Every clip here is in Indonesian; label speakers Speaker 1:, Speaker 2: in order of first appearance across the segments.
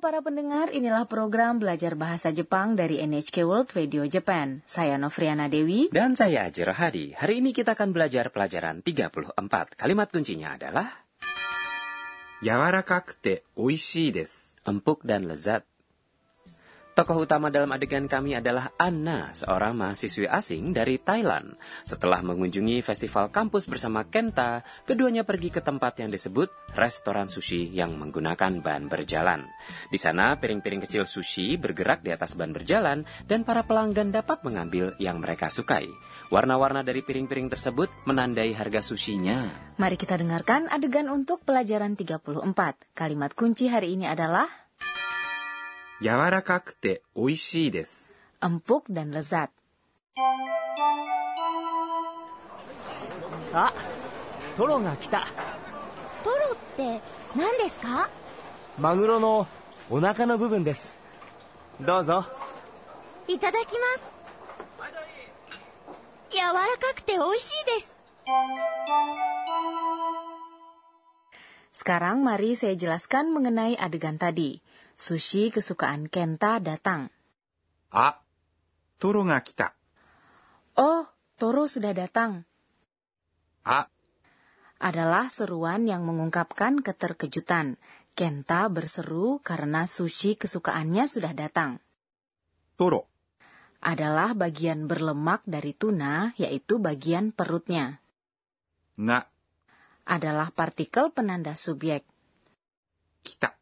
Speaker 1: para pendengar, inilah program belajar bahasa Jepang dari NHK World Radio Japan. Saya Novriana Dewi.
Speaker 2: Dan saya Jero Hadi. Hari ini kita akan belajar pelajaran 34. Kalimat kuncinya adalah
Speaker 3: 柔らかくて美味しいです。
Speaker 2: empuk dan lezat. Tokoh utama dalam adegan kami adalah Anna, seorang mahasiswi asing dari Thailand. Setelah mengunjungi festival kampus bersama Kenta, keduanya pergi ke tempat yang disebut restoran sushi yang menggunakan ban berjalan. Di sana, piring-piring kecil sushi bergerak di atas ban berjalan dan para pelanggan dapat mengambil yang mereka sukai. Warna-warna dari piring-piring tersebut menandai harga sushinya.
Speaker 1: Mari kita dengarkan adegan untuk pelajaran 34. Kalimat kunci hari ini adalah
Speaker 3: 柔らかくて美味しいです。
Speaker 1: empuk dan lezat.
Speaker 4: あトロが来た
Speaker 5: トロって何ですか
Speaker 4: マグロのお腹の部分ですどうぞ
Speaker 5: いただきます柔らかくて美味しいです
Speaker 1: Sekarang mari saya jelaskan mengenai adegan tadi. Sushi kesukaan Kenta datang.
Speaker 3: あ、トロが来た。
Speaker 1: Oh, Toro sudah datang.
Speaker 3: あ、
Speaker 1: Adalah seruan yang mengungkapkan keterkejutan. Kenta berseru karena sushi kesukaannya sudah datang.
Speaker 3: トロ、
Speaker 1: Adalah bagian berlemak dari tuna, yaitu bagian perutnya.
Speaker 3: が、
Speaker 1: Adalah partikel penanda subjek.
Speaker 3: 来た。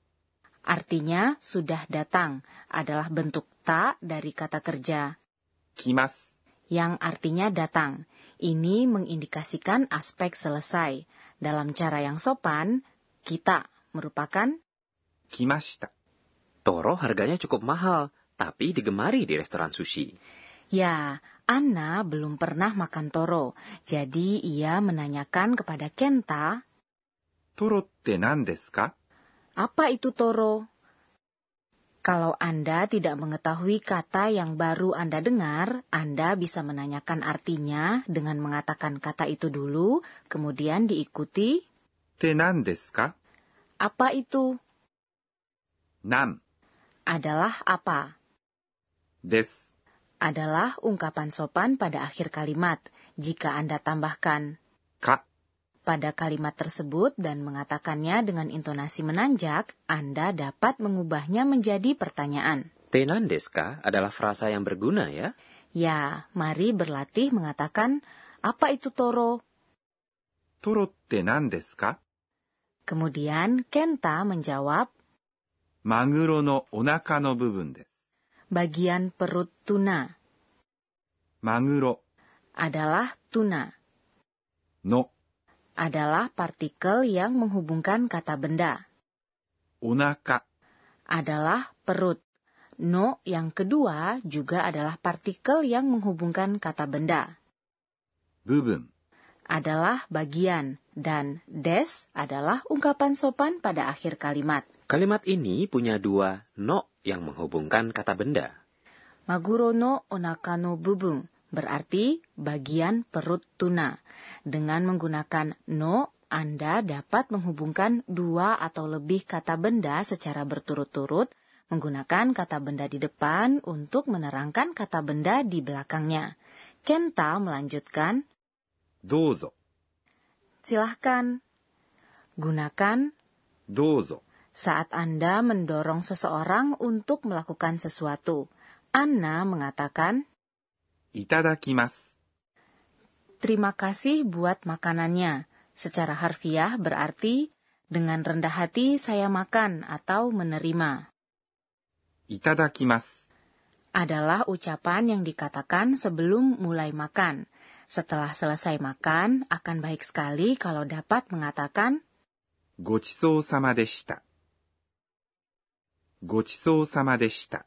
Speaker 1: Artinya sudah datang adalah bentuk ta dari kata kerja
Speaker 3: 来ます。
Speaker 1: yang artinya datang. Ini mengindikasikan aspek selesai. Dalam cara yang sopan, kita merupakan
Speaker 3: 来ました。
Speaker 2: Toro harganya cukup mahal, tapi digemari di restoran sushi.
Speaker 1: ya, Anna belum pernah makan toro. Jadi ia menanyakan kepada Kenta,
Speaker 3: トロって何ですか
Speaker 1: "Apa itu toro?" Kalau Anda tidak mengetahui kata yang baru Anda dengar, Anda bisa menanyakan artinya dengan mengatakan kata itu dulu, kemudian diikuti,
Speaker 3: って何ですか
Speaker 1: "Apa itu?"
Speaker 3: なん、
Speaker 1: adalah apa?
Speaker 3: です。
Speaker 1: adalah ungkapan sopan pada akhir kalimat. Jika Anda tambahkan
Speaker 3: か、
Speaker 1: pada kalimat tersebut dan mengatakannya dengan intonasi menanjak, Anda dapat mengubahnya menjadi pertanyaaan.
Speaker 2: Tenan deska adalah frasa yang berguna ya.
Speaker 1: Ya, mari berlatih mengatakan, apa itu toro?
Speaker 3: トロって何ですか
Speaker 1: Kemudian Kenta menjawab,
Speaker 3: マグロのお腹の部分です。
Speaker 1: bagian perut tuna
Speaker 3: マグロ
Speaker 1: adalah tuna,
Speaker 3: の
Speaker 1: adalah partikel yang menghubungkan kata benda.
Speaker 3: お腹
Speaker 1: adalah perut. No yang kedua juga adalah partikel yang menghubungkan kata benda,
Speaker 3: 部分
Speaker 1: adalah bagian, dan des adalah ungkapan sopan pada akhir kalimat.
Speaker 2: Kalimat ini punya dua no yang menghubungkan kata benda.
Speaker 1: Maguro no onaka no bubung berarti bagian perut tuna. Dengan menggunakan no, Anda dapat menghubungkan dua atau lebih kata benda secara berturut-turut menggunakan kata benda di depan untuk menerangkan kata benda di belakangnya. Kenta melanjutkan,
Speaker 3: どうぞ
Speaker 1: silahkan. Gunakan
Speaker 3: どうぞ
Speaker 1: saat Anda mendorong seseorang untuk melakukan sesuatu. Anna mengatakan,
Speaker 3: いただきます
Speaker 1: Terima kasih buat makanannya. Secara harfiah berarti dengan rendah hati saya makan atau menerima.
Speaker 3: いただきます
Speaker 1: Adalah ucapan yang dikatakan sebelum mulai makan. Setelah selesai makan, akan baik sekali kalau dapat mengatakan
Speaker 3: ごちそうさまでしたごちそうさまでした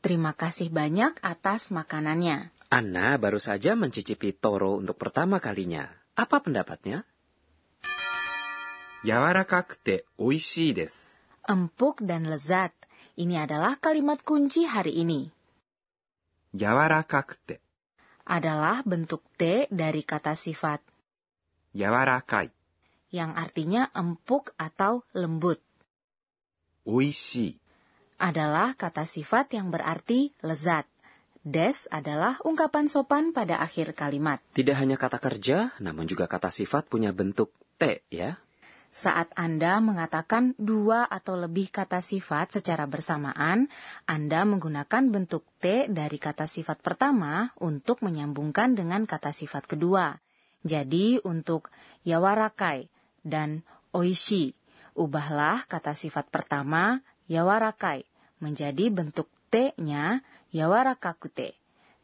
Speaker 1: terima kasih banyak atas makanannya.
Speaker 2: Anna baru saja mencicipi toro untuk pertama kalinya. Apa pendapatnya?
Speaker 3: 柔らかくて美味しいです
Speaker 1: Empuk dan lezat. Ini adalah kalimat kunci hari ini.
Speaker 3: 柔らかくて
Speaker 1: Adalah bentuk T dari kata sifat.
Speaker 3: 柔らかい
Speaker 1: yang artinya empuk atau lembut,
Speaker 3: 美味しい
Speaker 1: adalah kata sifat yang berarti lezat. Des adalah ungkapan sopan pada akhir kalimat.
Speaker 2: Tidak hanya kata kerja, namun juga kata sifat punya bentuk T ya.
Speaker 1: Saat Anda mengatakan dua atau lebih kata sifat secara bersamaan, Anda menggunakan bentuk T dari kata sifat pertama untuk menyambungkan dengan kata sifat kedua. Jadi, untuk yawarakai dan oishi, ubahlah kata sifat pertama yawarakai menjadi bentuk T-nya yawarakakute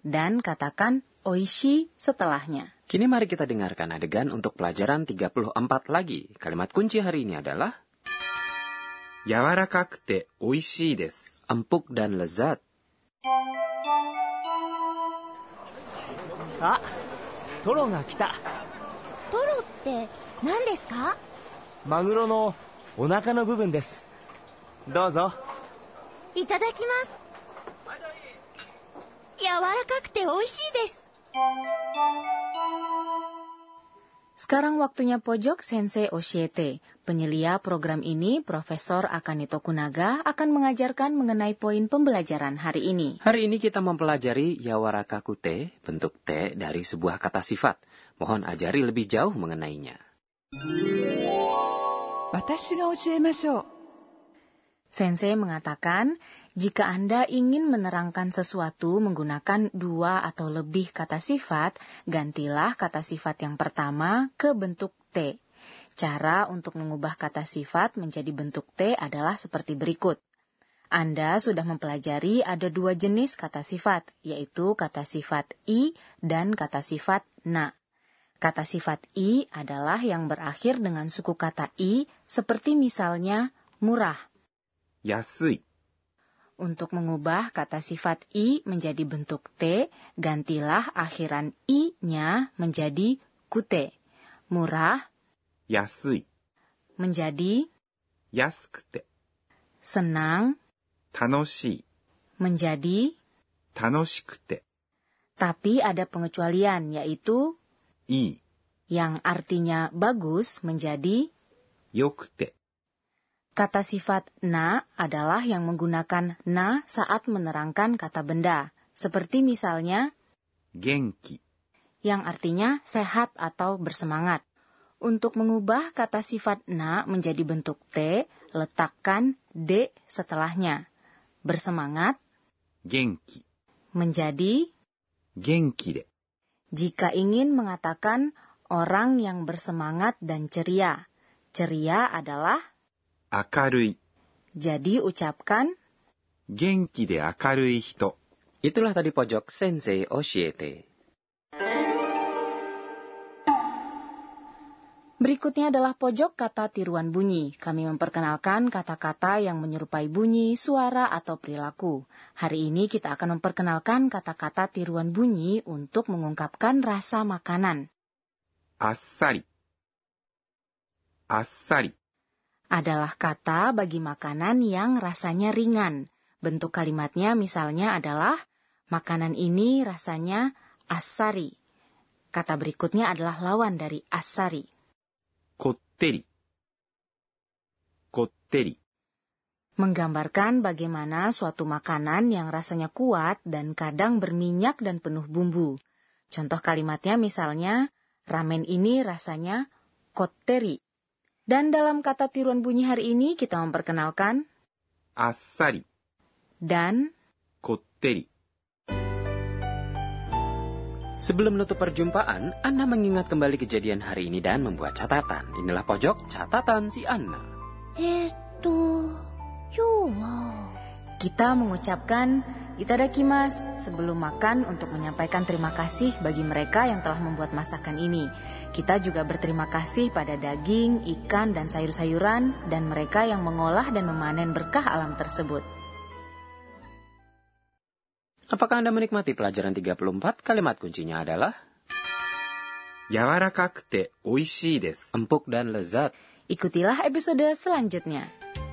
Speaker 1: dan katakan oishi setelahnya.
Speaker 2: Kini mari kita dengarkan adegan untuk pelajaran 34 lagi. Kalimat kunci hari ini adalah
Speaker 3: 柔らかくて美味しいです。
Speaker 2: empuk dan lezat.
Speaker 4: あトロが来た
Speaker 5: ポロって何ですか
Speaker 4: マグロのお腹の部分ですどうぞ
Speaker 5: いただきます柔らかくて美味しいです
Speaker 1: Sekarang waktunya pojok Sensei Oshiete. Penyelia program ini, Profesor Akanito Kunaga, akan mengajarkan mengenai poin pembelajaran hari ini.
Speaker 2: Hari ini kita mempelajari yawarakakute, bentuk T dari sebuah kata sifat. Mohon ajari lebih jauh mengenainya.
Speaker 6: 私が教えましょう
Speaker 1: Sensei mengatakan, jika Anda ingin menerangkan sesuatu menggunakan dua atau lebih kata sifat, gantilah kata sifat yang pertama ke bentuk T. Cara untuk mengubah kata sifat menjadi bentuk T adalah seperti berikut. Anda sudah mempelajari ada dua jenis kata sifat, yaitu kata sifat i dan kata sifat na. Kata sifat i adalah yang berakhir dengan suku kata i, seperti misalnya murah.
Speaker 3: 安い、
Speaker 1: Untuk mengubah kata sifat i menjadi bentuk t, gantilah akhiran i-nya menjadi kute. Murah
Speaker 3: 安い、
Speaker 1: menjadi
Speaker 3: 安くて、
Speaker 1: senang
Speaker 3: 楽しい、
Speaker 1: menjadi
Speaker 3: 楽しくて、
Speaker 1: tapi ada pengecualian yaitu
Speaker 3: い
Speaker 1: yang artinya bagus menjadi
Speaker 3: い、良くて、
Speaker 1: kata sifat na adalah yang menggunakan na saat menerangkan kata benda. Seperti misalnya
Speaker 3: 元気、
Speaker 1: yang artinya sehat atau bersemangat. Untuk mengubah kata sifat na menjadi bentuk t, letakkan d setelahnya. Bersemangat
Speaker 3: 元気、
Speaker 1: menjadi
Speaker 3: 元気で、
Speaker 1: jika ingin mengatakan orang yang bersemangat dan ceria. Ceria adalah
Speaker 3: 明るい、
Speaker 1: jadi ucapkan
Speaker 3: 元気で明るい人、
Speaker 2: Itulah tadi pojok Sensei Oshiete.
Speaker 1: Berikutnya adalah pojok kata tiruan bunyi. Kami memperkenalkan kata-kata yang menyerupai bunyi, suara, atau perilaku. Hari ini kita akan memperkenalkan kata-kata tiruan bunyi untuk mengungkapkan rasa makanan.
Speaker 3: あっさり、あっさり、
Speaker 1: Adalah kata bagi makanan yang rasanya ringan. Bentuk kalimatnya misalnya adalah, makanan ini rasanya asari. Kata berikutnya adalah lawan dari asari.
Speaker 3: こってり、こってり、
Speaker 1: menggambarkan bagaimana suatu makanan yang rasanya kuat dan kadang berminyak dan penuh bumbu. Contoh kalimatnya misalnya, ramen ini rasanya kotteri. Dan dalam kata tiruan bunyi hari ini kita memperkenalkan
Speaker 3: あっさり、
Speaker 1: dan
Speaker 3: こってり。
Speaker 2: Sebelum menutup perjumpaan, Anna mengingat kembali kejadian hari ini dan membuat catatan. Inilah pojok catatan si Anna.
Speaker 5: えーっと今日は
Speaker 1: kita mengucapkan itadakimasu sebelum makan untuk menyampaikan terima kasih bagi mereka yang telah membuat masakan ini. Kita juga berterima kasih pada daging, ikan, dan sayur-sayuran dan mereka yang mengolah dan memanen berkah alam tersebut.
Speaker 2: Apakah Anda menikmati pelajaran 34? Kalimat kuncinya adalah
Speaker 3: 柔らかくて美味しいです。
Speaker 2: empuk dan lezat.
Speaker 1: Ikutilah episode selanjutnya.